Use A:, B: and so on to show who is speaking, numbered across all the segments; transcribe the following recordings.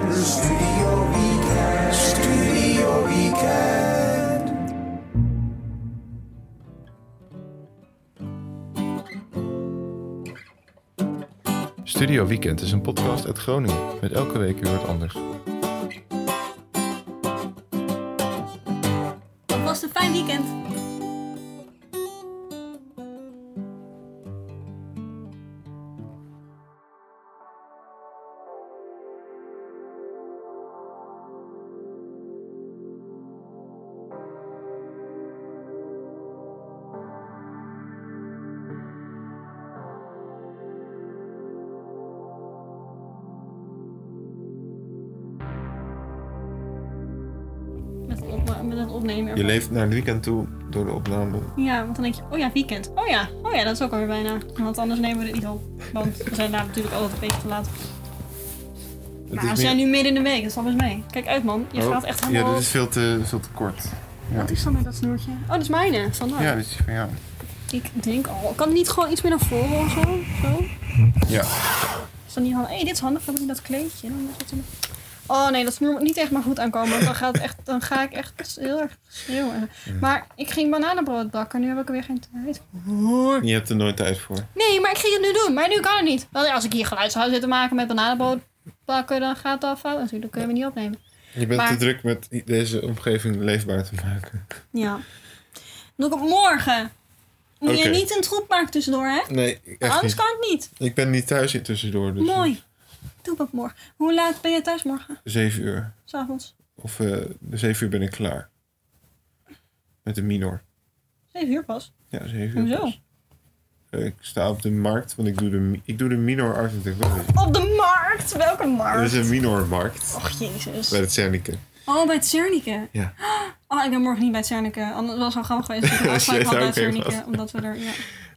A: Studio Weekend. Studio Weekend.
B: Studio Weekend is een podcast uit Groningen met elke week weer wat anders.
C: was een fijn weekend. Met, op, met een opnemer.
B: Je leeft naar het weekend toe door de opname.
C: Ja, want dan denk je, oh ja, weekend. Oh ja, oh ja, dat is ook alweer bijna. Want anders nemen we dit niet op. Want we zijn daar natuurlijk altijd een beetje te laat.
B: Het
C: Maar we
B: is
C: zijn
B: meer-
C: nu midden in de week, dat is alles mee. Kijk uit man, je
B: Oh,
C: gaat echt helemaal...
B: Ja, dit is veel te, veel te kort.
C: Wat is dan met dat snoertje? Oh, dat is mijne, standaard.
B: Ja, dit is van jou.
C: Ik denk, oh, kan het niet gewoon iets meer naar voren of zo? zo?
B: Ja.
C: Is dat niet handig? Hé, dit is handig, dan heb ik dat kleedje. Dan is dat een- Oh nee, dat snoer moet niet echt maar goed aankomen. Want dan, gaat het echt, dan ga ik echt heel erg schreeuwen. Maar ik ging bananenbrood bakken, nu heb ik er weer geen tijd voor.
B: Je hebt er nooit tijd voor.
C: Nee, maar ik ging het nu doen. Maar nu kan het niet. Want als ik hier geluid zou zitten maken met bananenbrood bakken, dan gaat dat fout. Natuurlijk, dat kunnen we niet opnemen.
B: Je bent
C: Maar-
B: te druk met deze omgeving leefbaar te maken.
C: Ja. Doe ik op morgen. Moet
B: Oké.
C: je niet een troep maken tussendoor, hè?
B: Nee, echt
C: Anders
B: niet.
C: kan het niet.
B: Ik ben niet thuis hier tussendoor. Dus
C: Mooi. Doe ik op morgen. Hoe laat ben je thuis morgen?
B: Zeven uur.
C: S'avonds?
B: Of eh zeven uur ben ik klaar. Met de minor.
C: Zeven uur pas.
B: Ja, zeven uur.
C: Hoezo?
B: pas. Eh, Ik sta op de markt, want ik doe de, mi- ik doe de minor art en technology.
C: Op de markt! Welke
B: Er
C: markt?
B: is een minormarkt
C: Och, jezus.
B: bij het Zernike.
C: Oh, bij het Zernike.
B: Ja.
C: Oh, ik ben morgen niet bij het Zernike. Anders was het wel grappig geweest. Ik
B: Als
C: was
B: je
C: bij
B: daar
C: het
B: ook heen
C: Zernike,
B: was.
C: omdat we er... Ja.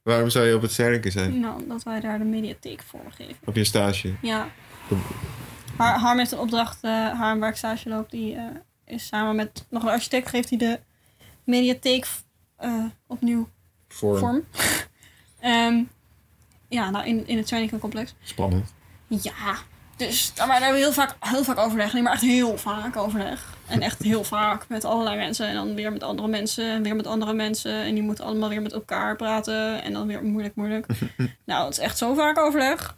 B: Waarom zou je op het Zernike zijn?
C: Nou, omdat wij daar de mediatheek voor geven.
B: Op je stage?
C: Ja. Har, Harm heeft een opdracht, eh Harm waar ik stage loop, die eh, is samen met nog een architect, geeft hij de mediatheek eh, opnieuw
B: Voor
C: vorm. Ehm, ja, nou in, in het Zernike complex.
B: Spannend.
C: Ja, dus maar daar hebben we heel vaak, heel vaak overleg. Nee, maar echt heel vaak overleg. En echt heel vaak met allerlei mensen. En dan weer met andere mensen. En weer met andere mensen. En die moeten allemaal weer met elkaar praten. En dan weer moeilijk, moeilijk. nou, het is echt zo vaak overleg.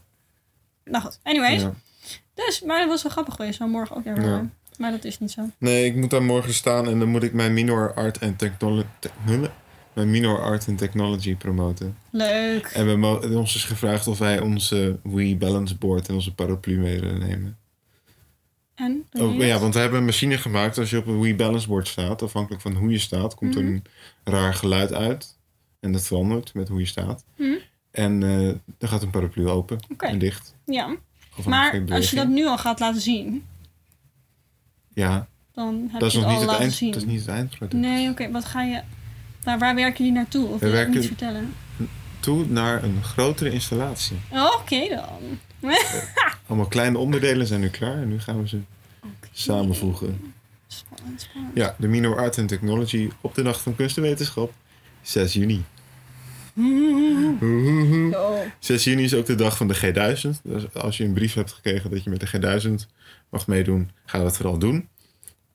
C: Nou goed, anyways.
B: Ja.
C: Dus, maar dat was wel grappig geweest. Zou morgen ook weer
B: Ja.
C: worden. Maar dat is niet zo.
B: Nee, ik moet daar morgen staan en dan moet ik mijn minor art en technology... mijn minor art en technology promoten.
C: Leuk.
B: En we mo- en ons is gevraagd of wij onze Wii Balance Board en onze paraplu mee willen nemen.
C: En? doe
B: Oh,
C: je
B: ja,
C: het?
B: want we hebben een machine gemaakt. Als je op een Wii Balance Board staat, afhankelijk van hoe je staat, komt
C: Mhm.
B: er een raar geluid uit. En dat verandert met hoe je staat.
C: Mhm.
B: En eh, dan gaat een paraplu open
C: Oké.
B: en dicht.
C: ja.
B: Afhankelijk van
C: Maar als je dat
B: beweging.
C: nu al gaat laten zien,
B: Ja,
C: dan heb
B: dat is,
C: je
B: nog
C: het al
B: niet het
C: laten
B: eind,
C: zien.
B: dat is niet het eindproduct.
C: Nee, oké. wat ga je... Waar, waar werken jullie naartoe?
B: We
C: Of wil je dat
B: werken-
C: niet vertellen?
B: Toe naar een grotere installatie.
C: Oké dan.
B: Allemaal kleine onderdelen zijn nu klaar en nu gaan we ze samenvoegen.
C: Spannend, spannend.
B: Ja, de Minor Art and Technology op de Nacht van Kunst en Wetenschap, 6 juni. 6 juni is ook de dag van de G1000. Dus als je een brief hebt gekregen dat je met de G1000 mag meedoen, ga dat vooral doen.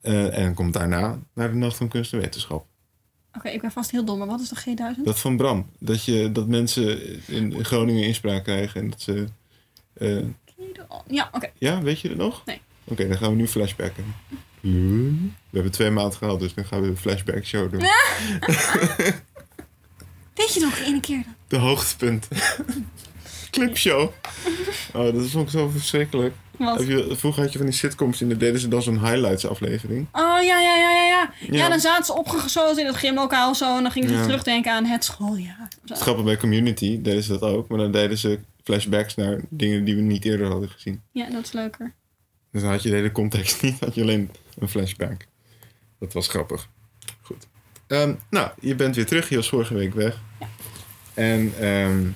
B: Eh, en kom daarna naar de Nacht van Kunst en Wetenschap.
C: Oké, ik ben vast heel dom, maar wat is de G1000?
B: Dat van Bram. Dat, je, dat mensen in Groningen inspraak krijgen en dat ze... eh,
C: Ja, oké.
B: Ja, weet je het nog?
C: Nee.
B: Oké, dan gaan we nu flashbacken. We hebben twee maanden gehad, dus dan gaan we een flashback show doen.
C: Weet je nog de ene keer dat?
B: De hoogtepunt. Clipshow. Oh, dat vond ik zo verschrikkelijk.
C: Wat?
B: Heb je, vroeger had je van die sitcoms en dan deden ze dan zo'n highlights aflevering.
C: Oh ja, ja, ja, ja, ja.
B: Ja.
C: Ja, dan zaten ze opgezoten in het gymlokaal zo. En dan gingen ze
B: Ja.
C: terugdenken aan het schooljaar. Zo.
B: Het grappige bij Community deden ze dat ook, maar dan deden ze flashbacks naar dingen die we niet eerder hadden gezien.
C: Ja, dat is leuker.
B: Dus dan had je de hele context niet, had je alleen een flashback. Dat was grappig. Goed. Ehm, nou, je bent weer terug. Je was vorige week weg. En ehm,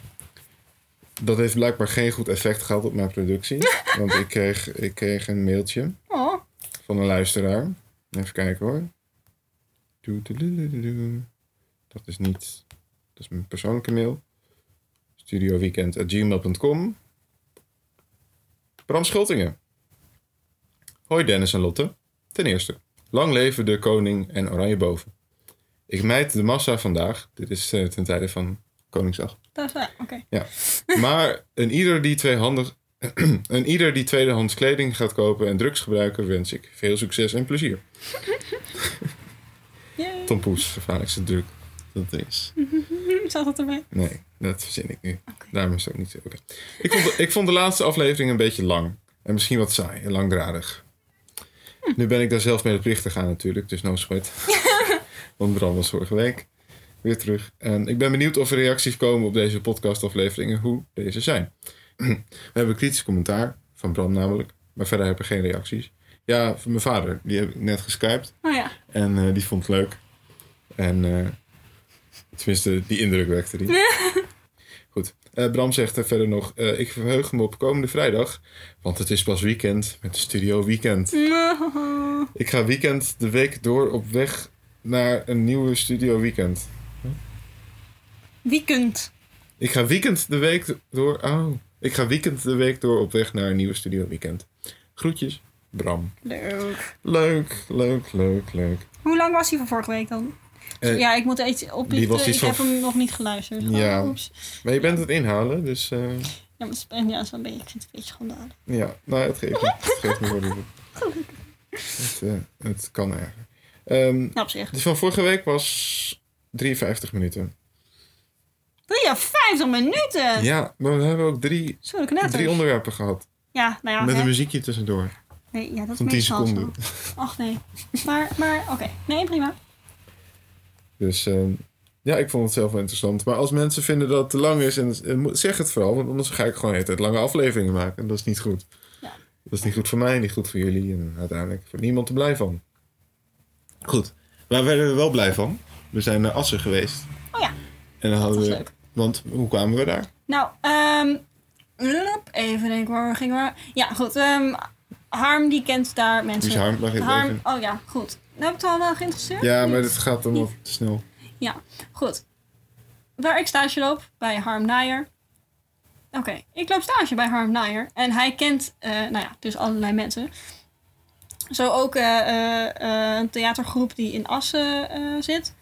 B: dat heeft blijkbaar geen goed effect gehad op mijn productie. want ik kreeg, ik kreeg een mailtje
C: Oh,
B: van een luisteraar. Even kijken hoor. Doedeloedeloedeloe. Dat is niet. Dat is mijn persoonlijke mail. Studioweekend.gmail.com. Bram Schultingen. Hoi Dennis en Lotte. Ten eerste, lang leven de koning en oranje boven. Ik mijd de massa vandaag. Dit is eh, ten tijde van Koningsdag.
C: Daar, ja, oké.
B: Maar een ieder die tweehandig, een ieder die tweedehands kleding gaat kopen en drugs gebruiken, wens ik veel succes en plezier.
C: Yay.
B: Tom Poes, gevaarlijkste druk. Dat is.
C: Zat dat erbij?
B: Nee, dat verzin ik nu. Daarom is het ook niet zo. oké. Ik, vond de, ik vond de laatste aflevering een beetje lang. En misschien wat saai en langdradig. Nu ben ik daar zelf mee medeplichtig aan natuurlijk, dus no sweat. Want Bram was vorige week weer terug. En ik ben benieuwd of er reacties komen op deze podcastafleveringen, hoe deze zijn. We hebben kritisch commentaar, van Bram namelijk. Maar verder heb ik geen reacties. Ja, van mijn vader, die heb ik net geskypt.
C: Oh ja.
B: En eh, die vond het leuk. En eh, tenminste, die indruk wekte die. Goed. Eh, Bram zegt er verder nog: eh, Ik verheug me op komende vrijdag, want het is pas weekend met de studio Weekend.
C: Nou.
B: Ik ga weekend de week door op weg naar een nieuwe studio Weekend.
C: Weekend.
B: Ik ga weekend de week door. Oh. Ik ga weekend de week door op weg naar een nieuwe studio Weekend. Groetjes, Bram.
C: Leuk.
B: Leuk, leuk, leuk, leuk.
C: Hoe lang was hij van vorige week dan?
B: Eh,
C: ja, ik moet er iets op.
B: die was
C: ik
B: iets
C: heb
B: van-
C: hem nog niet geluisterd. gewoon.
B: Ja.
C: Oeps.
B: Maar je bent het inhalen, dus. eh,
C: Ja, maar het is- ja, het is wel een beetje, ik vind het een beetje schandalig.
B: Ja, nou, het geeft niet. Het geeft niet wat het, eh, het kan eigenlijk. Ehm
C: Nou, op zich.
B: dus van vorige week was 53 minuten.
C: 53 minuten!
B: Ja, maar we hebben ook drie,
C: Zo, de knetters.
B: drie onderwerpen gehad.
C: Ja, nou dus. ja.
B: Met
C: hè.
B: een muziekje tussendoor.
C: Nee, ja, dat is
B: Van 10
C: meestal
B: seconden.
C: zo. Ach nee. Maar, maar oké. Nee, prima.
B: Dus ehm, ja, ik vond het zelf wel interessant. Maar als mensen vinden dat het te lang is, en, en moet- zeg het vooral. Want anders ga ik gewoon de hele tijd lange afleveringen maken. En dat is niet goed.
C: Ja.
B: Dat is niet goed voor mij, niet goed voor jullie. En uiteindelijk voor niemand er blij van. Goed. Waar werden we wel blij van? We zijn naar Assen geweest.
C: Oh ja,
B: En dan hadden
C: dat is
B: we...
C: leuk.
B: Want hoe kwamen we daar?
C: Nou, ehm lup, even denken waar we gingen. waar- Ja, goed. ehm, Harm, die kent daar mensen.
B: Dus Harm, mag ik
C: Harm,
B: even?
C: oh ja, goed. Daar heb ik het al wel geïnteresseerd.
B: Ja, maar dit gaat dan nog te snel.
C: Ja, goed. Waar ik stage loop, bij Harm Nijer. Oké, ik loop stage bij Harm Nijer. En hij kent, eh, nou ja, dus allerlei mensen. Zo ook eh, eh, eh, een theatergroep die in Assen eh, zit.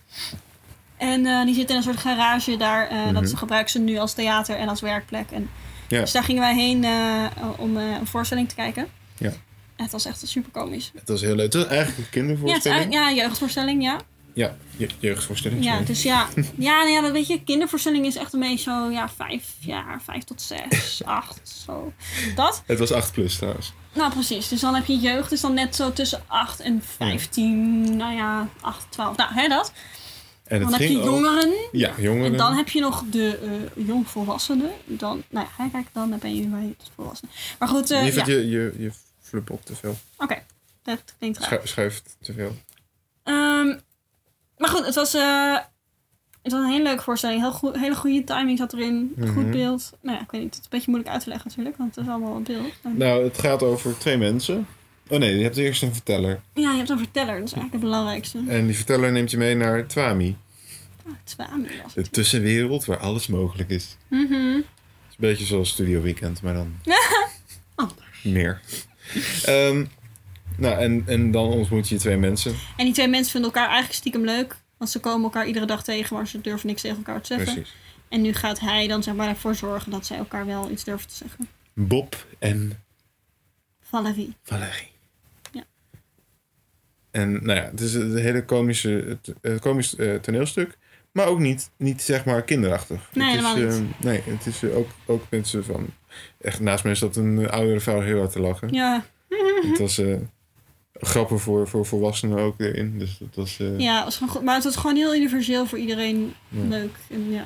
C: En eh, die zit in een soort garage daar. eh, Dat
B: Mhm.
C: gebruiken ze nu als theater en als werkplek. En
B: Ja.
C: Dus daar gingen wij heen eh, om eh, een voorstelling te kijken.
B: Ja.
C: En het was echt super komisch.
B: Het was heel leuk. Het was eigenlijk een
C: Ja, het is
B: kindervoorstelling.
C: eigenlijk- ja, jeugdvoorstelling, ja.
B: Ja, je- jeugdvoorstelling.
C: Ja,
B: sorry.
C: dus ja. Ja, nou ja, dat weet je, kindervoorstelling is echt een beetje zo, ja, vijf jaar, vijf tot zes, acht, zo. Dat?
B: Het was 8 plus trouwens.
C: Nou, precies. Dus dan heb je jeugd, dus dan net zo tussen acht en vijftien, nou ja, acht, twaalf. Nou, hè, dat.
B: En het
C: Dan heb je
B: ging over-
C: jongeren,
B: Ja, jongeren.
C: en dan heb je nog de eh, jongvolwassenen. Dan, nou ja, hè, kijk, dan ben je bij het volwassenen. Maar goed, eh,
B: je,
C: ja.
B: vindt
C: Oké,
B: je, je, je flup op te veel.
C: dat klinkt raar.
B: Schu- schuift te veel.
C: Ehm, maar goed, het was, eh, het was een hele leuke voorstelling. Heel goe- hele goede timing zat erin.
B: Mhm.
C: Goed beeld. Nou ja, ik weet niet. Het is een beetje moeilijk uit te leggen natuurlijk, want het is allemaal een beeld. En-
B: Nou, het gaat over twee mensen. Oh nee, je hebt eerst een verteller.
C: Ja, je hebt een verteller. Dat is eigenlijk het belangrijkste.
B: En die verteller neemt je mee naar Twami.
C: Ah, Twami was
B: De
C: het.
B: tussenwereld waar alles mogelijk is. Het
C: Mhm.
B: is een beetje zoals Studio Weekend, maar dan
C: Anders.
B: meer. Ehm, nou, en, en dan ontmoet je twee mensen.
C: En die twee mensen vinden elkaar eigenlijk stiekem leuk. Want ze komen elkaar iedere dag tegen, maar ze durven niks tegen elkaar te zeggen.
B: Precies.
C: En nu gaat hij dan zeg maar ervoor zorgen dat zij elkaar wel iets durven te zeggen.
B: Bob en
C: Valerie.
B: Valerie.
C: Ja.
B: En nou ja, het is een hele komische, het, eh, komisch eh, toneelstuk. Maar ook niet, niet zeg maar kinderachtig.
C: Nee,
B: het is,
C: helemaal
B: eh, nee, het is eh, ook, ook mensen van... Echt, naast mij zat een eh, oudere vrouw heel hard te lachen.
C: Ja,
B: Het was eh, grappen voor, voor volwassenen ook erin. Dus dat was... eh,
C: ja het was gewoon goed. maar het was gewoon heel universeel voor iedereen
B: Ja.
C: leuk. En ja,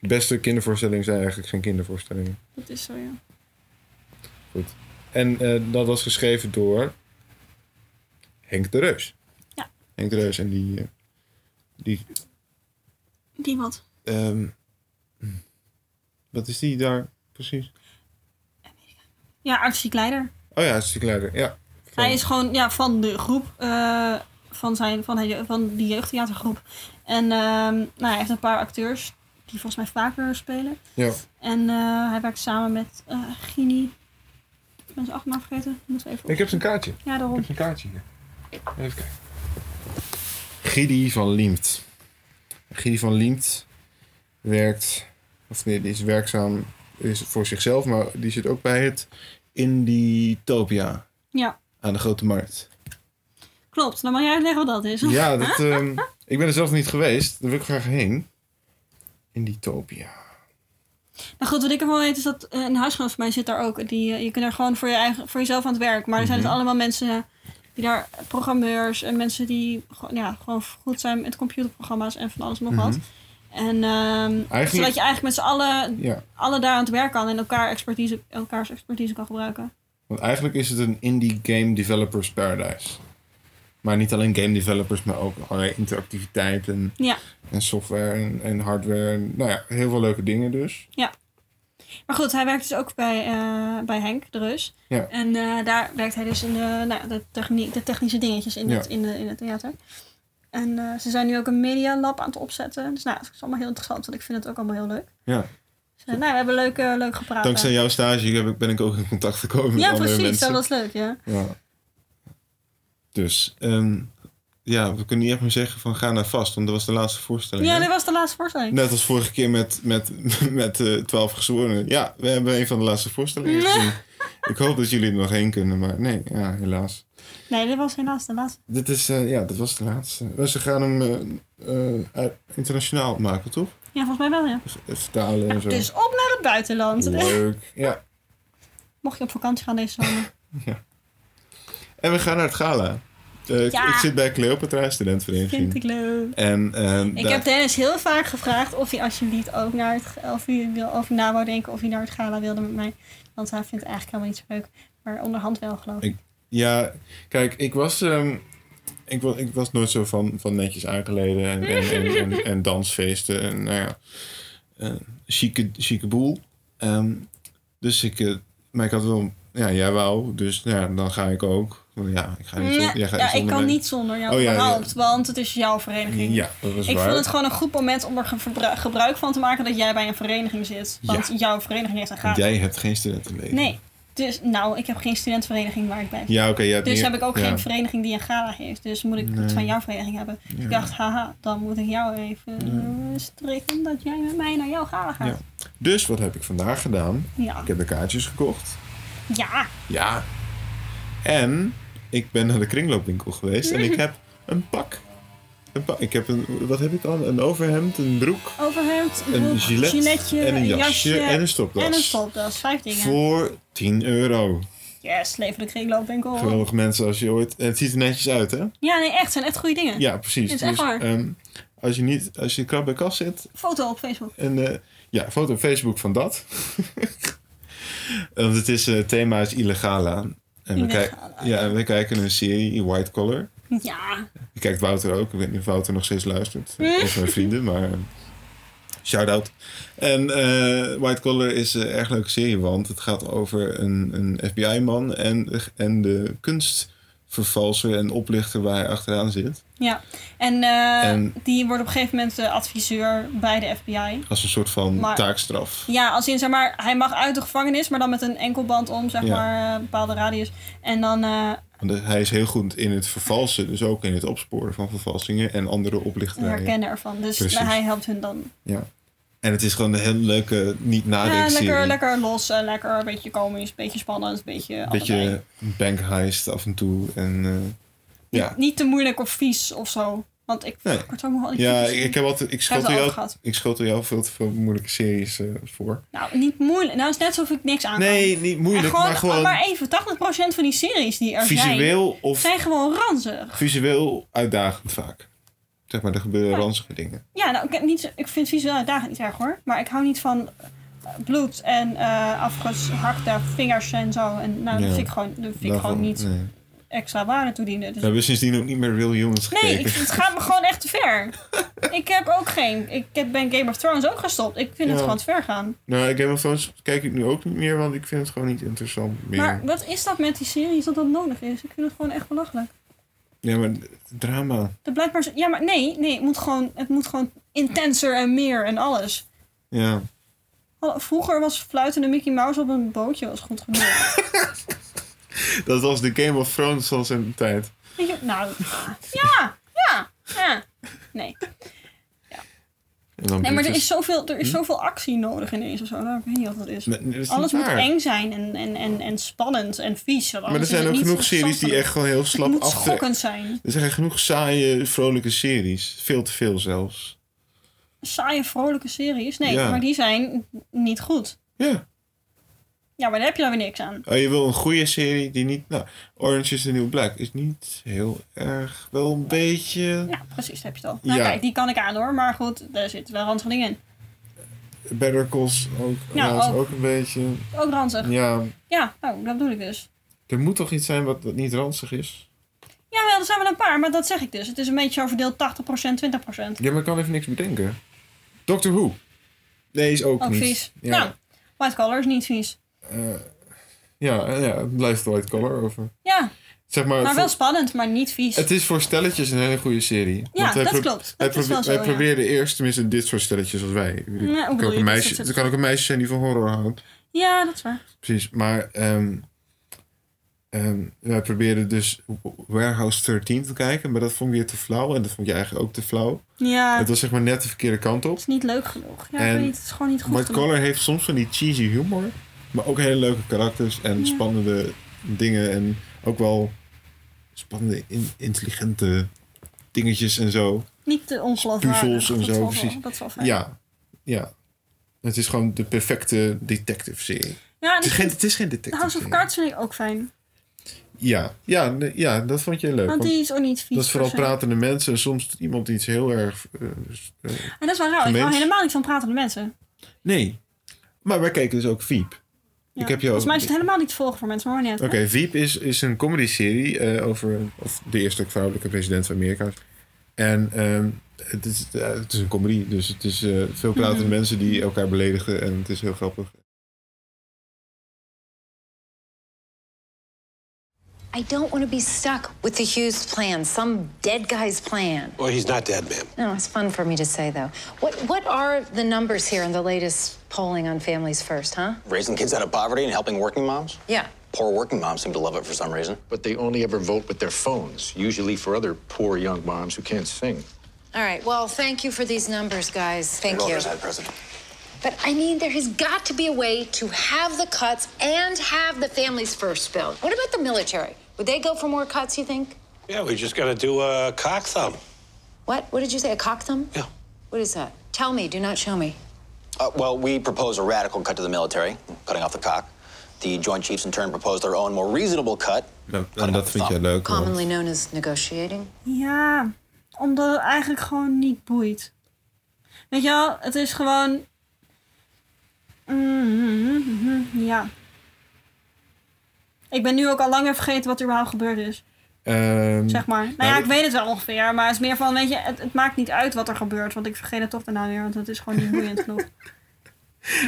B: De beste kindervoorstellingen zijn eigenlijk geen kindervoorstellingen.
C: dat is zo ja.
B: En eh, dat was geschreven door Henk de Reus.
C: Ja.
B: Henk de Reus en die, eh, die
C: Die wat?
B: Ehm, wat is die daar precies?
C: Ja, artistiek leider.
B: Oh ja, het leider. Ja. Van-
C: Hij is gewoon ja, van de groep, eh, van, zijn, van, hij, van die jeugdtheatergroep. En ehm, nou, hij heeft een paar acteurs die volgens mij vaker spelen.
B: Ja.
C: En eh, hij werkt samen met eh Gini ben zijn achternaam vergeten. Ik moet even op.
D: Ik heb zijn kaartje. Ik
C: Ja, daarom.
D: heb zijn kaartje hier. Even kijken.
B: Gidi van Liemt. Gidi van Liemt werkt, of nee, die is werkzaam is voor zichzelf, maar die zit ook bij het Indietopia
C: Ja,
B: aan de Grote Markt.
C: klopt. Dan mag jij uitleggen wat dat is.
B: Ja, dat, ehm, ik ben er zelf niet geweest, daar wil ik graag heen. Indietopia.
C: Nou goed, wat ik ervan weet is dat eh, een huisgenoot van mij zit daar ook. Die, eh, je kunt daar gewoon voor, je eigen, voor jezelf aan het werk. Maar er
B: Mhm.
C: zijn dus allemaal mensen die daar programmeurs en mensen die gewoon- ja, gewoon goed zijn met computerprogramma's en van alles nog wat.
B: Mhm.
C: En ehm, zodat je eigenlijk met z'n allen,
B: Ja,
C: allen daar aan het werk kan en elkaar expertise, elkaars expertise kan gebruiken.
B: want eigenlijk is het een Indie Game Developers Paradise. Maar niet alleen game developers, maar ook allerlei interactiviteit en,
C: Ja.
B: en software en, en hardware. En, nou ja, heel veel leuke dingen dus.
C: Maar goed, hij werkt dus ook bij, eh, bij Henk, de Rus.
B: Ja.
C: En eh, daar werkt hij dus in de, nou, de, technie- de technische dingetjes in,
B: Ja.
C: het, in, de, in het theater. En eh, ze zijn nu ook een media lab aan het opzetten. Dus nou, het is allemaal heel interessant, want ik vind het ook allemaal heel leuk.
B: Ja.
C: Dus, eh, nou, we hebben leuk, eh, leuk gepraat.
B: Dankzij jouw stage heb ik, ben ik ook in contact gekomen met
C: ja,
B: andere
C: precies.
B: mensen.
C: Dat was leuk, ja.
B: Ja. Dus, ehm, ja, we kunnen niet echt meer zeggen van ga naar vast, want dat was de laatste voorstelling.
C: Ja,
B: hè?
C: dit was de laatste voorstelling.
B: Net als vorige keer met, met, met eh 12 gezworenen. Ja, we hebben een van de laatste voorstellingen gezien. Ik hoop dat jullie er nog heen kunnen, maar nee, ja, helaas.
C: Nee, dit was helaas de laatste.
B: Dit is, eh, ja, dat was de laatste. Maar Ze gaan hem eh, eh, uit- internationaal maken, toch?
C: Ja, volgens mij wel, ja.
B: V- Vertalen en zo.
C: Dus op naar het buitenland.
B: Leuk. Ja.
C: Mocht je op vakantie gaan deze zomer.
B: En we gaan naar het gala. Eh, ik-
C: Ja.
B: Ik zit bij Cleopatra
C: Vind
B: Studentenvereniging.
C: ik leuk.
B: En, ehm,
C: Ik
B: daar-
C: heb Dennis heel vaak gevraagd of hij alsjeblieft ook naar het, of hij, wil, of hij na wou denken of hij naar het gala wilde met mij. Want hij vindt het eigenlijk helemaal niet zo leuk. Maar onderhand wel geloof ik.
B: Ik- Ja, kijk, ik was, ehm, ik was, ik was nooit zo van, van netjes aangeleden en, en, en, en, en dansfeesten en nou ja, eh chique, chique boel. Ehm, dus ik, eh, maar ik had wel, ja, jij wou, dus nou ja, dan ga ik ook. Want Ja, ik ga niet
C: Nee,
B: zon- jij gaat
C: ja, ik
B: zonder
C: kan
B: mij.
C: niet zonder jou
B: Oh, ja,
C: überhaupt, want het is jouw vereniging.
B: Ja, dat is
C: Ik
B: waar.
C: vond het gewoon een goed moment om er ge- verbru- gebruik van te maken dat jij bij een vereniging zit. Want
B: Ja.
C: jouw vereniging heeft een
B: Want
C: gala.
B: jij hebt geen studentenleven.
C: Nee, dus nou, ik heb geen studentvereniging waar ik bij zit.
B: Ja, oké, jij hebt
C: Dus
B: meer-
C: heb ik ook
B: ja.
C: geen vereniging die een gala heeft. Dus moet ik
B: Nee.
C: het van jouw vereniging hebben. Dus ik
B: Ja.
C: dacht, haha, dan moet ik jou even eh, strikken dat jij met mij naar jouw gala gaat.
B: Ja. Dus wat heb ik vandaag gedaan?
C: Ja.
B: Ik heb de kaartjes gekocht.
C: Ja.
B: Ja. En ik ben naar de kringloopwinkel geweest en ik heb een pak. Een pak. Ik heb een, wat heb ik dan? Een overhemd, een broek,
C: Overhemd,
B: een
C: broek,
B: gilet
C: giletje,
B: en een jasje, en een stopdas.
C: en een stopdas. Vijf dingen.
B: Voor 10 euro.
C: Yes, lever de kringloopwinkel.
B: Geweldig mensen als je ooit... en Het ziet er netjes uit, hè?
C: Ja, nee, echt. het zijn echt goede dingen.
B: Ja, precies.
C: Dit is echt waar.
B: ehm, als je, niet, als je krap bij kas zit
C: Foto op Facebook.
B: en eh, ja, een foto op Facebook van dat. Want het is, eh, thema is illegala. En we, kijk-
C: Illegala.
B: ja, en we kijken een serie, White Collar.
C: Ja.
B: Je kijkt Wouter ook. Ik weet niet of Wouter nog steeds luistert. Een van mijn vrienden, maar... eh, Shout-out. En eh, White Collar is een erg leuke serie, want het gaat over een, een FBI-man en, en de kunstvervalser en oplichter waar hij achteraan zit.
C: Ja. En, eh,
B: En-
C: die wordt op een gegeven moment eh, adviseur bij de FBI.
B: Als een soort van
C: Maar-
B: taakstraf.
C: Ja, als in zeg maar, hij mag uit de gevangenis, maar dan met een enkelband om, zeg
B: Ja.
C: maar, eh, bepaalde radius. En dan, eh,
B: Want hij is heel goed in het vervalsen, dus ook in het opsporen van vervalsingen en andere
C: een
B: oplichterijen.
C: herkennen ervan. Dus
B: Precies.
C: hij helpt hun dan.
B: En het is gewoon een heel leuke, niet
C: Ja,
B: nadenkserie.
C: lekker, lekker los, eh, lekker een beetje komisch, een beetje spannend, een beetje. allebei.
B: Beetje bank heist af en toe. En, eh, ja.
C: Niet, niet te moeilijk of vies of zo. Want ik
B: Nee.
C: ik word zo moe van die
B: Ja,
C: typische-
B: ik, ik heb altijd. Ik
C: Hebben
B: schotel
C: we al
B: jou,
C: gehad.
B: ik schotel jou veel te veel moeilijke series eh, voor.
C: Nou, niet moeilijk. Nou, het is net alsof ik niks aan kan.
B: Nee, niet moeilijk,
C: En oh. gewoon,
B: maar gewoon
C: maar even, 80% van die series die er zijn,
B: visueel of
C: zijn gewoon ranzig.
B: visueel uitdagend vaak. Zeg maar, er gebeuren ranzige dingen.
C: Ja, nou, ik, heb niet, zo- ik vind visueel uitdagend niet erg hoor. Maar ik hou niet van eh, bloed en eh, afgehakte vingers en zo. En nou,
B: Ja.
C: dat vind ik gewoon, dat vind ik
B: Daarvan-
C: gewoon niet
B: nee.
C: extra waarde toedienen.
B: We
C: Dus...
B: hebben sindsdien ook niet meer Real Humans
C: Nee,
B: gekeken.
C: ik, het gaat me gewoon echt te ver. ik heb ook geen... Ik heb, ben Game of Thrones ook gestopt. Ik vind
B: Ja.
C: het gewoon te ver gaan.
B: Nou, Game of Thrones kijk ik nu ook niet meer, want ik vind het gewoon niet interessant meer.
C: Maar wat is dat met die series dat dat nodig is? Ik vind het gewoon echt belachelijk.
B: Ja, maar drama.
C: Dat blijkt maar zo... Ja, maar nee, nee. Het moet gewoon, het moet gewoon intenser en meer en alles.
B: Ja.
C: Hallo, Vroeger was fluitende Mickey Mouse op een bootje was goed genoeg.
B: Dat was de Game of Thrones van zijn tijd.
C: Weet je, nou, ja, ja, ja. Nee.
B: En dan
C: nee, maar er
B: Brutus.
C: is, zoveel, er is zoveel actie nodig ineens of zo. Nou, ik weet niet wat dat is.
B: Hm? Nee, nee, dat is
C: Alles
B: niet
C: moet
B: waar.
C: eng zijn en, en, en, en spannend en vies. want
B: Maar er
C: anders is
B: zijn
C: het
B: ook
C: niet
B: genoeg series die
C: interessant.
B: echt gewoon heel
C: Het
B: slap
C: moet
B: af. te-
C: schokkend zijn.
B: Er zijn genoeg saaie, vrolijke series. Veel te veel zelfs.
C: Saaie, vrolijke series. Nee,
B: Ja.
C: maar die zijn niet goed.
B: Ja.
C: Ja, maar daar heb je dan weer niks aan.
B: Oh, je wil een goede serie die niet... Nou, Orange is the New Black is niet heel erg... Wel een beetje...
C: Ja, precies, daar heb je het al. Nou,
B: Ja.
C: kijk, die kan ik aan hoor. Maar goed, daar zit wel ranzig dingen in.
B: Better Calls ook,
C: Ja,
B: ja, is
C: ook.
B: ook een beetje...
C: Ook ranzig.
B: Ja,
C: Ja, nou, dat bedoel ik dus.
B: er moet toch iets zijn wat, wat niet ranzig is?
C: Ja, wel, er zijn wel een paar, maar dat zeg ik dus. Het is een beetje zo verdeeld 80%, 20%.
B: Ja, maar ik kan even niks bedenken. Doctor Who. Nee, is ook,
C: Ook
B: niet.
C: vies.
B: Ja,
C: Nou, White Collar is niet vies.
B: eh, ja, eh, ja, het blijft white collar over.
C: Ja,
B: Zeg maar,
C: maar wel
B: voor-
C: spannend, maar niet vies.
B: het is voor stelletjes een hele goede serie.
C: Ja,
B: Want hij
C: dat
B: pro-
C: klopt.
B: Hij,
C: Dat is
B: probe-
C: wel zo,
B: hij
C: ja.
B: probeerde eerst, tenminste dit soort stelletjes als wij. Ik bedoel,
C: hoe
B: het
C: bedoel
B: kan ook
C: je?
B: een
C: Dat
B: meisje,
C: soort-
B: het kan ook een meisje zijn die van horror houdt.
C: Ja, dat is waar.
B: Precies, maar ehm, ehm, wij probeerden dus Warehouse 13 te kijken, maar dat vond ik weer te flauw. En dat vond je eigenlijk ook te flauw.
C: Ja,
B: Het
C: het
B: was zeg maar net de verkeerde kant op.
C: is niet leuk genoeg. Ja,
B: En
C: ik weet niet, het is gewoon niet goed
B: White
C: genoeg.
B: Collar heeft soms van die cheesy humor, maar ook hele leuke karakters en
C: Ja.
B: spannende dingen en ook wel spannende, in- intelligente dingetjes en zo.
C: Niet te ongeloofwaardig.
B: Puzzels en
C: Dat
B: zo,
C: is wel-
B: precies.
C: Dat is wel fijn.
B: Ja, ja. Het is gewoon de perfecte detective serie.
C: Ja, en
B: Het is
C: ik
B: geen,
C: vind
B: het is geen detective
C: Ah, House of
B: serie.
C: Cards vind ik ook fijn.
B: Ja, ja, nee, ja, dat vond je leuk.
C: Want
B: want
C: die is ook niet vies.
B: dat is vooral
C: per se.
B: pratende mensen en soms iemand die iets heel erg... eh, eh,
C: En dat is wel raar. Ik
B: Gemeen.
C: hou helemaal niet van pratende mensen.
B: nee, maar wij keken dus ook Veep.
C: Ja.
B: Ik heb jou-
C: Volgens mij is het helemaal niet te volgen voor mensen, maar hoor niet.
B: Oké,
C: uit.
B: Veep is, is een comedy-serie eh, over of de eerste vrouwelijke president van Amerika. En ehm, het, is, eh, het is een comedy, dus het is eh, veel pratende
C: Mhm.
B: mensen die elkaar beledigen en het is heel grappig.
E: I don't want to be stuck with the Hughes plan, some dead guy's plan.
F: Well, he's not dead, ma'am.
E: No, it's fun for me to say though. What what are the numbers here in the latest polling on families first, huh?
F: Raising kids out of poverty and helping working moms?
E: Yeah.
F: Poor working moms seem to love it for some reason.
G: but they only ever vote with their phones, usually for other poor young moms who can't sing.
E: All right. Well, thank you for these numbers, guys. Thank
F: Well,
E: you.
F: there's that president.
E: But I mean, there has got to be a way to have the cuts and have the families first bill. What about the military? Would they go for more cuts? You think?
F: Yeah, we just got to do a cock thumb.
E: What? What did you say? A cock thumb?
F: Yeah.
E: What is that? Tell me. Do not show me.
F: Uh, well, we propose a radical cut to the military, cutting off the cock. The Joint Chiefs, in turn, propose their own more reasonable cut. Uh,
B: en dat vind jij leuk.
E: Commonly known as negotiating.
C: Ja, omdat het eigenlijk gewoon niet boeit. Weet je wel, het is gewoon. Mhm, Ja. Ik ben nu ook al lang weer vergeten wat er überhaupt gebeurd is, zeg maar. Nou ja,
B: Nou,
C: ik weet het wel ongeveer, maar het is meer van, weet je, het, het maakt niet uit wat er gebeurt, want ik vergeet het toch daarna weer, want het is gewoon niet boeiend genoeg.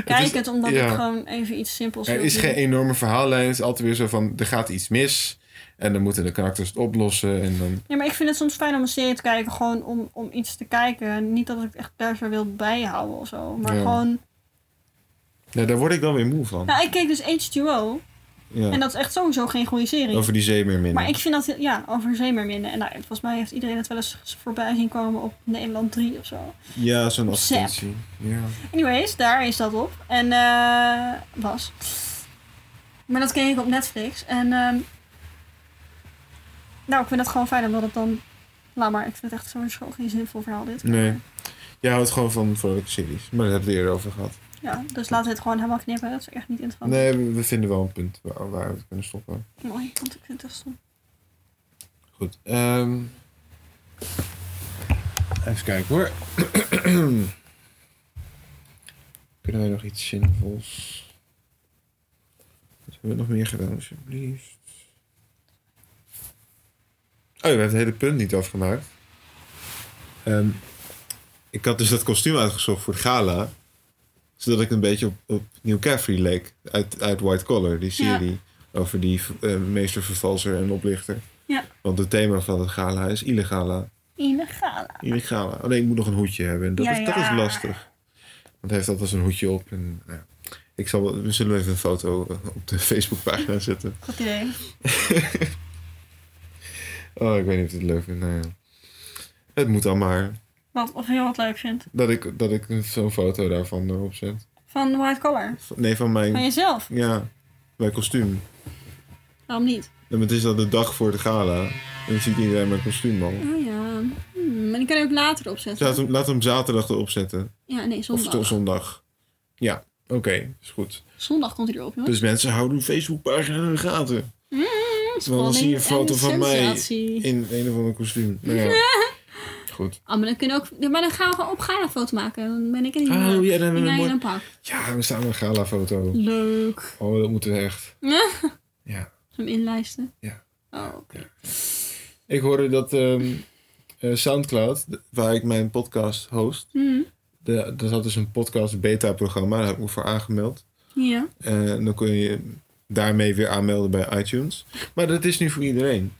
C: Kijk het, omdat
B: ja.
C: ik gewoon even iets simpels
B: Er
C: wil
B: is
C: doen.
B: geen enorme verhaallijn, het is altijd weer zo van, er gaat iets mis en dan moeten de karakters het oplossen en dan...
C: Ja, maar ik vind het soms fijn om een serie te kijken, gewoon om, om iets te kijken. Niet dat ik het echt per se wil bijhouden of zo, maar
B: Ja.
C: gewoon...
B: Ja, daar word ik wel weer moe van.
C: Nou, ik keek dus H2O.
B: Ja.
C: En dat is echt sowieso geen goede serie.
B: Over die zeemeermin.
C: Maar ik vind dat, ja, over zeemerminnen. En nou, volgens mij heeft iedereen het wel eens voorbij zien komen op Nederland 3 of zo.
B: Ja, zo'n
C: Zap.
B: advertentie. Ja.
C: Anyways, daar is dat op. En eh was. Maar dat keek ik op Netflix. En ehm, nou, ik vind dat gewoon fijn omdat het dan... Laat maar, ik vind het echt sowieso geen zinvol verhaal dit.
B: Nee. Jij houdt gewoon van vrolijke series, maar daar hebben we het eerder over gehad.
C: Ja, dus laten we het gewoon helemaal knippen. Dat is echt niet interessant.
B: Nee, we, we vinden wel een punt waar, waar we het kunnen stoppen.
C: Mooi, want ik vind het echt stom.
B: Goed. ehm, even kijken hoor. kunnen wij nog iets zinvols? Wat hebben we nog meer gedaan, alsjeblieft? Oh, we hebben het hele punt niet afgemaakt. Ehm, ik had dus dat kostuum uitgezocht voor de gala. Zodat ik een beetje op, op New Caffrey leek. Uit, uit White Collar, die serie. Over die eh, meester, vervalser en oplichter.
C: Ja,
B: Want het thema van het gala is Oh illegala.
C: illegale.
B: Illegala. Alleen ik moet nog een hoedje hebben. En dat,
C: Ja,
B: is, dat
C: ja.
B: is lastig. Want hij heeft altijd een hoedje op. En, nou ja. Ik zal, wel- we zullen even een foto eh, op de Facebookpagina zetten.
C: Goed idee.
B: Oh, ik weet niet of je het leuk vindt. Nou ja. Het moet dan maar
C: Wat, of je wat leuk vindt.
B: dat ik, dat ik zo'n foto daarvan erop zet.
C: Van White Collar.
B: Nee, van mijn...
C: Van jezelf.
B: Ja, mijn kostuum.
C: Waarom niet?
B: En het is dan de dag voor de gala. En dan ziet iedereen mijn kostuum al.
C: Oh ja. Hmm, en die kan je ook later opzetten.
B: Laat hem, laat hem zaterdag erop zetten.
C: Ja, nee,
B: Of
C: zondag.
B: tot zondag. Ja, oké, is goed.
C: Zondag komt hij erop, jongens.
B: Dus mensen houden uw Facebookpagina in de gaten. Terwijl dan
C: spanning
B: zie je een foto
C: en
B: van mij
C: sensatie.
B: in een of ander kostuum. Nou ja. Goed.
C: Ah, maar dan kunnen we ook... ja, Maar dan gaan we gewoon op Gaia foto maken. Oh, Dan ben ik er niet
B: Ah,
C: meer.
B: ja, dan hebben we
C: ben
B: een
C: jij
B: mooi-
C: in een pak.
B: Ja, we staan een galafoto.
C: Leuk.
B: Oh, dat moeten we echt. Ja.
C: Hem inlijsten.
B: Ja.
C: Oh, oké.
B: Ik hoorde dat ehm, eh, Soundcloud, d- waar ik mijn podcast host,
C: Mm.
B: de, er zat dus een podcast beta programma, daar heb ik me voor aangemeld.
C: Ja.
B: Eh, En dan kun je daarmee weer aanmelden bij iTunes. Maar dat is nu voor iedereen.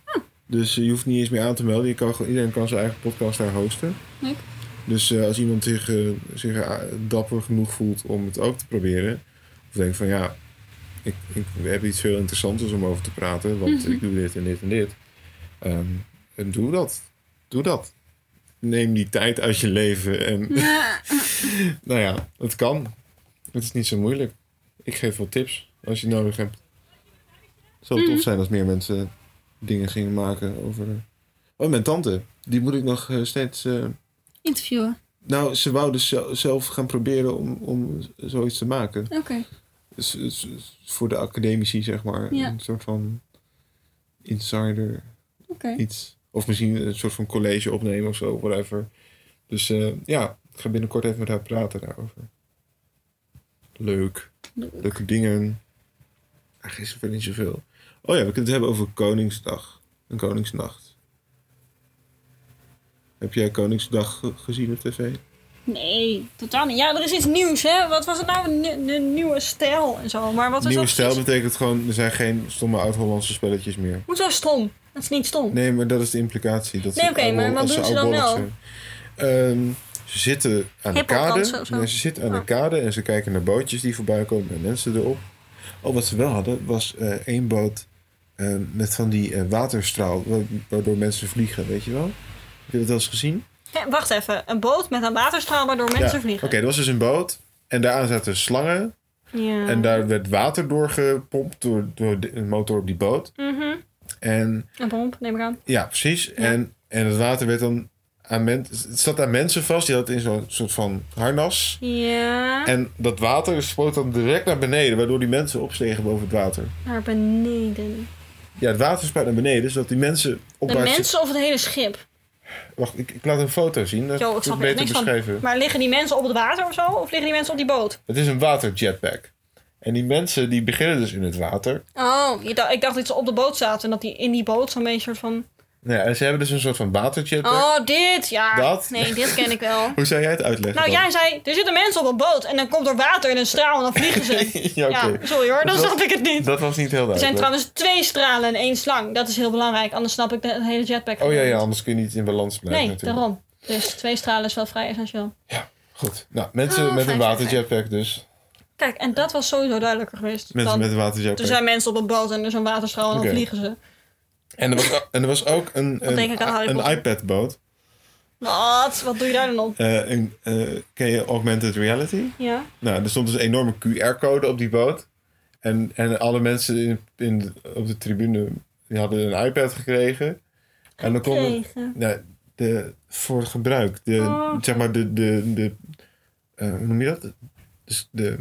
B: Dus eh, je hoeft niet eens meer aan te melden. Je kan, gewoon- iedereen kan zijn eigen podcast daar hosten.
C: Leuk.
B: Dus eh, als iemand zich, eh, zich eh, dapper genoeg voelt om het ook te proberen. Of denkt van ja, ik, ik heb iets veel interessanters om over te praten. Want ik doe dit en dit en dit. Ehm, en doe dat. Doe dat. Neem die tijd uit je leven. En nou ja, het kan. Het is niet zo moeilijk. Ik geef wel tips als je het nodig hebt. Het zou tof zijn als meer mensen dingen gingen maken over. Oh, mijn tante. Die moet ik nog eh, steeds. eh,
C: Interviewen.
B: Nou, ze wou dus zel- zelf gaan proberen om, om zoiets te maken.
C: Oké.
B: Dus, dus- dus voor de academici, zeg maar.
C: Ja.
B: Een soort van insider
C: Oké.
B: iets. Of misschien een soort van college opnemen of zo, whatever. Dus eh, ja, ik ga binnenkort even met haar praten daarover. Leuk.
C: Leuk.
B: Leuke dingen. Eigenlijk is er verder niet zoveel. Oh ja, we kunnen het hebben over Koningsdag. En Koningsnacht. Heb jij Koningsdag ge- gezien op tv?
C: Nee, totaal niet. Ja, er is iets nieuws, hè? Wat was het nou? Een de nieuwe stijl en zo. Maar wat is
B: Nieuwe
C: dat?
B: stijl betekent gewoon, er zijn geen stomme oud-Hollandse spelletjes meer.
C: Hoezo stom? Dat is niet stom.
B: Nee, maar dat is de implicatie. Dat ze
C: Nee, oké,
B: oude-
C: maar wat
B: als
C: doen ze dan
B: oudbollig
C: wel?
B: zijn. Ehm, ze zitten aan de
C: Hip-hop dansen
B: kade.
C: of zo?
B: Nee, ze zitten aan de
C: Oh.
B: kade en ze kijken naar bootjes die voorbij komen en mensen erop. Oh, wat ze wel hadden was eh, één boot eh, met van die eh, waterstraal, wa- waardoor mensen vliegen, weet je wel? Heb je dat wel eens gezien?
C: Hé, wacht even. Een boot met een waterstraal waardoor mensen
B: ja. Oké,
C: vliegen.
B: er was dus een boot en daaraan zaten slangen
C: Ja.
B: en daar werd water doorgepompt door, door de- een motor op die boot.
C: Mhm.
B: En
C: Een pomp, neem ik aan.
B: Ja, precies. En, en het water werd dan aan mensen. Het zat aan mensen vast. Die hadden het in zo'n soort van harnas.
C: Ja.
B: En dat water spoot dan direct naar beneden, waardoor die mensen opstegen boven het water.
C: Naar beneden.
B: Ja, het water spuit naar beneden, zodat die mensen
C: De
B: opwaarts.
C: mensen of het hele schip?
B: Wacht, ik, ik laat een foto zien. Dat
C: Yo, ik
B: wordt
C: snap er echt
B: beter
C: niks
B: beschreven.
C: van. Maar liggen die mensen op het water of zo? Of liggen die mensen op die boot?
B: Het is een waterjetpack. En die mensen die beginnen dus in het water.
C: Oh, je dacht- ik dacht dat ze op de boot zaten. En dat die in die boot zo'n beetje soort van...
B: Nou ja, en ze hebben dus een soort van waterjetpack.
C: Oh, dit! Ja.
B: Dat?
C: Nee, dit ken ik wel.
B: Hoe zou jij het uitleggen?
C: Nou,
B: dan?
C: jij zei, er zitten mensen op een boot en dan komt er water in een straal en dan vliegen ze.
B: Ja, oké.
C: Ja, sorry hoor, dan
B: Dat was-
C: snap ik het niet.
B: Dat was niet heel duidelijk.
C: Er zijn trouwens twee stralen en één slang. Dat is heel belangrijk, anders snap ik de het hele jetpack.
B: Oh ja, ja,
C: niet.
B: anders kun je niet in balans blijven.
C: Nee,
B: natuurlijk.
C: daarom. Dus twee stralen is wel vrij essentieel.
B: Ja, goed. Nou, mensen
C: Oh,
B: met een
C: fijn,
B: waterjetpack dus.
C: Kijk, en dat was sowieso duidelijker geweest.
B: Mensen
C: dan,
B: met een waterjetpack.
C: er zijn mensen op een boot en er is een waterstraal en dan
B: Oké.
C: vliegen ze.
B: En, er was, o- en er was ook een,
C: denk ik aan Harry
B: een, een
C: Potter.
B: iPad-boot.
C: Wat? Wat doe je daar dan op?
B: Eh, een, eh, ken je augmented reality?
C: Ja.
B: Nou, er stond dus een enorme QR-code op die boot. En, en alle mensen in, in, op de tribune die hadden een iPad gekregen. En dan konden...
C: Gekregen.
B: Nou, de, voor gebruik. De,
C: Oh.
B: Zeg maar de... de, de eh, hoe noem je dat? Dus de...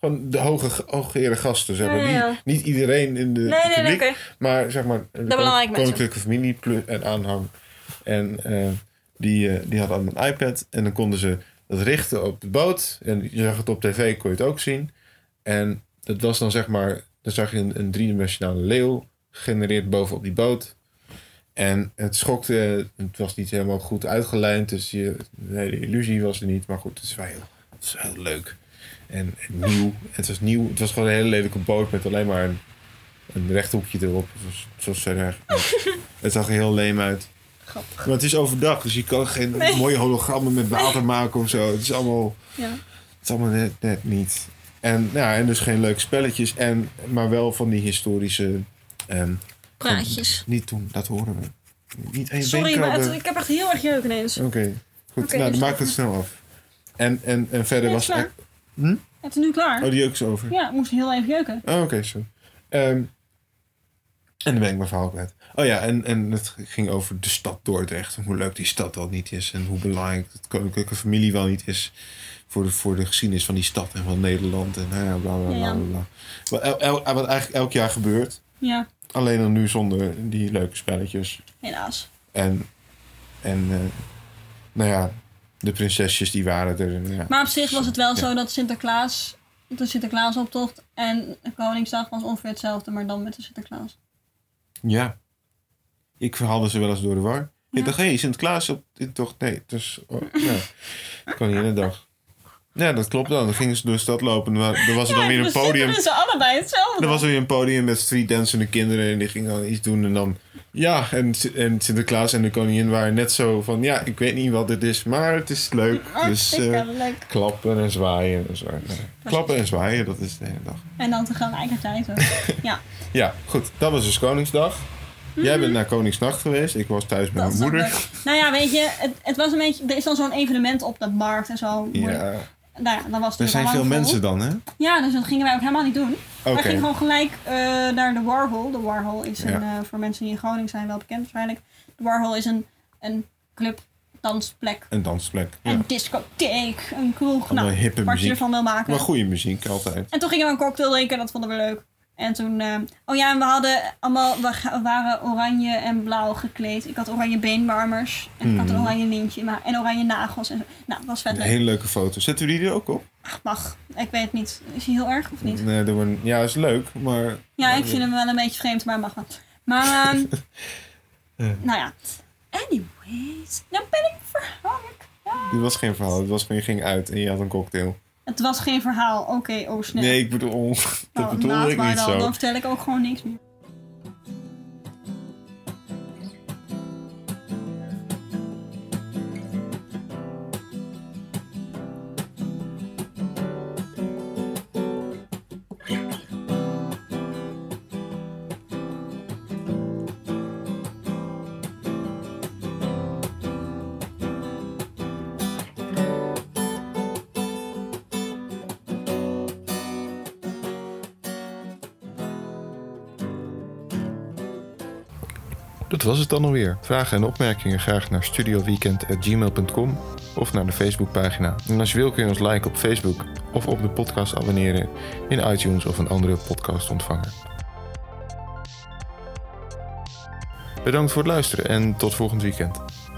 B: Gewoon de hoge, hogere gasten, zeg maar.
C: Ja, ja.
B: Niet, niet iedereen in de
C: nee, nee,
B: publiek,
C: oké.
B: maar zeg maar de,
C: belangrijke mensen.
B: koninklijke familie plu- en aanhang. En eh, die, eh, die hadden allemaal een iPad en dan konden ze dat richten op de boot. En je zag het op tv, kon je het ook zien. En dat was dan zeg maar, dan zag je een, een driedimensionale leeuw gegenereerd bovenop die boot. En het schokte, het was niet helemaal goed uitgelijnd, dus je, de hele illusie was er niet. Maar goed, het is wel heel, het is wel heel leuk. En, en nieuw. Het was nieuw. Het was gewoon een hele lelijke boot met alleen maar een, een rechthoekje erop. Zoals, zoals zij daar. het zag er heel leem uit.
C: Grappig.
B: Maar het is overdag, dus je kan geen mooie hologrammen met water maken of zo. Het is allemaal.
C: Ja.
B: Het is allemaal net, net niet. En, ja, en dus geen leuke spelletjes, en, maar wel van die historische... ehm,
C: Praatjes.
B: Niet doen, dat horen we. Niet één
C: Sorry,
B: wenkbrauw
C: maar het-
B: er-
C: ik heb echt heel erg jeuk ineens.
B: Oké, goed.
C: Oké,
B: nou,
C: dus
B: dan maak
C: dat-
B: het snel af. En, en, en verder
C: Nee,
B: was...
C: het is
B: Oh,
C: klaar. Het is nu klaar.
B: die jeuk is over.
C: Ja, ik moest heel even jeuken.
B: Oh, oké, zo. Ehm, en dan ben ik mijn verhaal kwijt. Oh ja, en, en het ging over de stad Dordrecht. En hoe leuk die stad wel niet is. En hoe belangrijk het koninklijke familie wel niet is. Voor de, voor de geschiedenis van die stad en van Nederland. En nou ja, bla bla bla
C: Ja.
B: bla. bla. Wat, el- el- wat eigenlijk elk jaar gebeurt.
C: Ja,
B: Alleen dan nu zonder die leuke spelletjes.
C: helaas.
B: En, en eh, nou ja, de prinsesjes die waren er. en Ja.
C: Maar op zich was het wel
B: Ja.
C: zo dat Sinterklaas, de Sinterklaasoptocht en Koningsdag was ongeveer hetzelfde, maar dan met de Sinterklaas.
B: Ja. Ik haalde ze wel eens door de war. Ik dacht, hé, hey, Sinterklaas op dit toch? Nee, dus. Oh, ja. Dat kan niet in de dag. Ja, dat klopt dan. Dan gingen ze door de stad lopen. en Er was er dan weer een podium.
C: ze allebei hetzelfde.
B: Er was weer een podium met streetdansende kinderen. En die gingen dan iets doen. En dan. Ja, en, Sin- en Sinterklaas en de koningin waren net zo van. Ja, ik weet niet wat dit is, maar het is leuk. Dus
C: Hartstikke
B: eh,
C: leuk.
B: klappen en zwaaien en zo. Nee. Klappen en zwaaien, dat is de hele dag.
C: En dan tegelijkertijd ook. ja,
B: Ja, goed. Dat was dus Koningsdag. Jij bent naar Koningsnacht geweest. Ik was thuis met
C: Mhm. dat
B: mijn
C: is ook
B: moeder.
C: leuk. Nou ja, weet je, het, het was een beetje, er is dan zo'n evenement op de markt en zo.
B: Ja,
C: Nou ja, dan was het
B: er
C: weer
B: zijn
C: al
B: veel
C: lang vol.
B: mensen dan, hè?
C: Ja, dus dat gingen wij ook helemaal niet doen.
B: Oké.
C: Wij gingen gewoon gelijk eh, naar de Warhol. De Warhol is een,
B: Ja.
C: eh, voor mensen die in Groningen zijn wel bekend waarschijnlijk. De Warhol is een, een club, dansplek,
B: Een dansplek. Ja.
C: een discotheek, een kroeg.
B: Allemaal
C: Nou,
B: hippe
C: wat je
B: muziek.
C: ervan wil maken.
B: Maar goede muziek altijd.
C: En toen gingen we een cocktail drinken, dat vonden we leuk. En toen, eh, oh ja, en we hadden allemaal, we ga- waren oranje en blauw gekleed. Ik had oranje beenwarmers. En ik had een oranje lintje in mijn- en oranje nagels. En zo. Nou, dat was vet leuk.
B: Mhm. Hele leuke foto's. Zetten we die er ook op?
C: Ach, mag. Ik weet het niet. Is hij heel erg of niet?
B: Nee, doen we een- ja, is leuk, maar...
C: Ja, ik vind hem wel een beetje vreemd, maar mag wel. Maar, ehm, nou ja. Anyways, nou ben ik verhangelijk. Ja.
B: Dit was geen verhaal. Het was gewoon, je ging uit en je had een cocktail.
C: Het was geen verhaal. Oké, oh snel.
B: Nee, ik bedoel...
C: Nou,
B: dat bedoel
C: laat
B: ik
C: maar
B: niet
C: dan,
B: zo.
C: Dan vertel ik ook gewoon niks meer.
B: Dat was het dan alweer. Vragen en opmerkingen graag naar studioweekend.gmail.com of naar de Facebookpagina. En als je wil kun je ons liken op Facebook of op de podcast abonneren in iTunes of een andere podcastontvanger. Bedankt voor het luisteren en tot volgend weekend.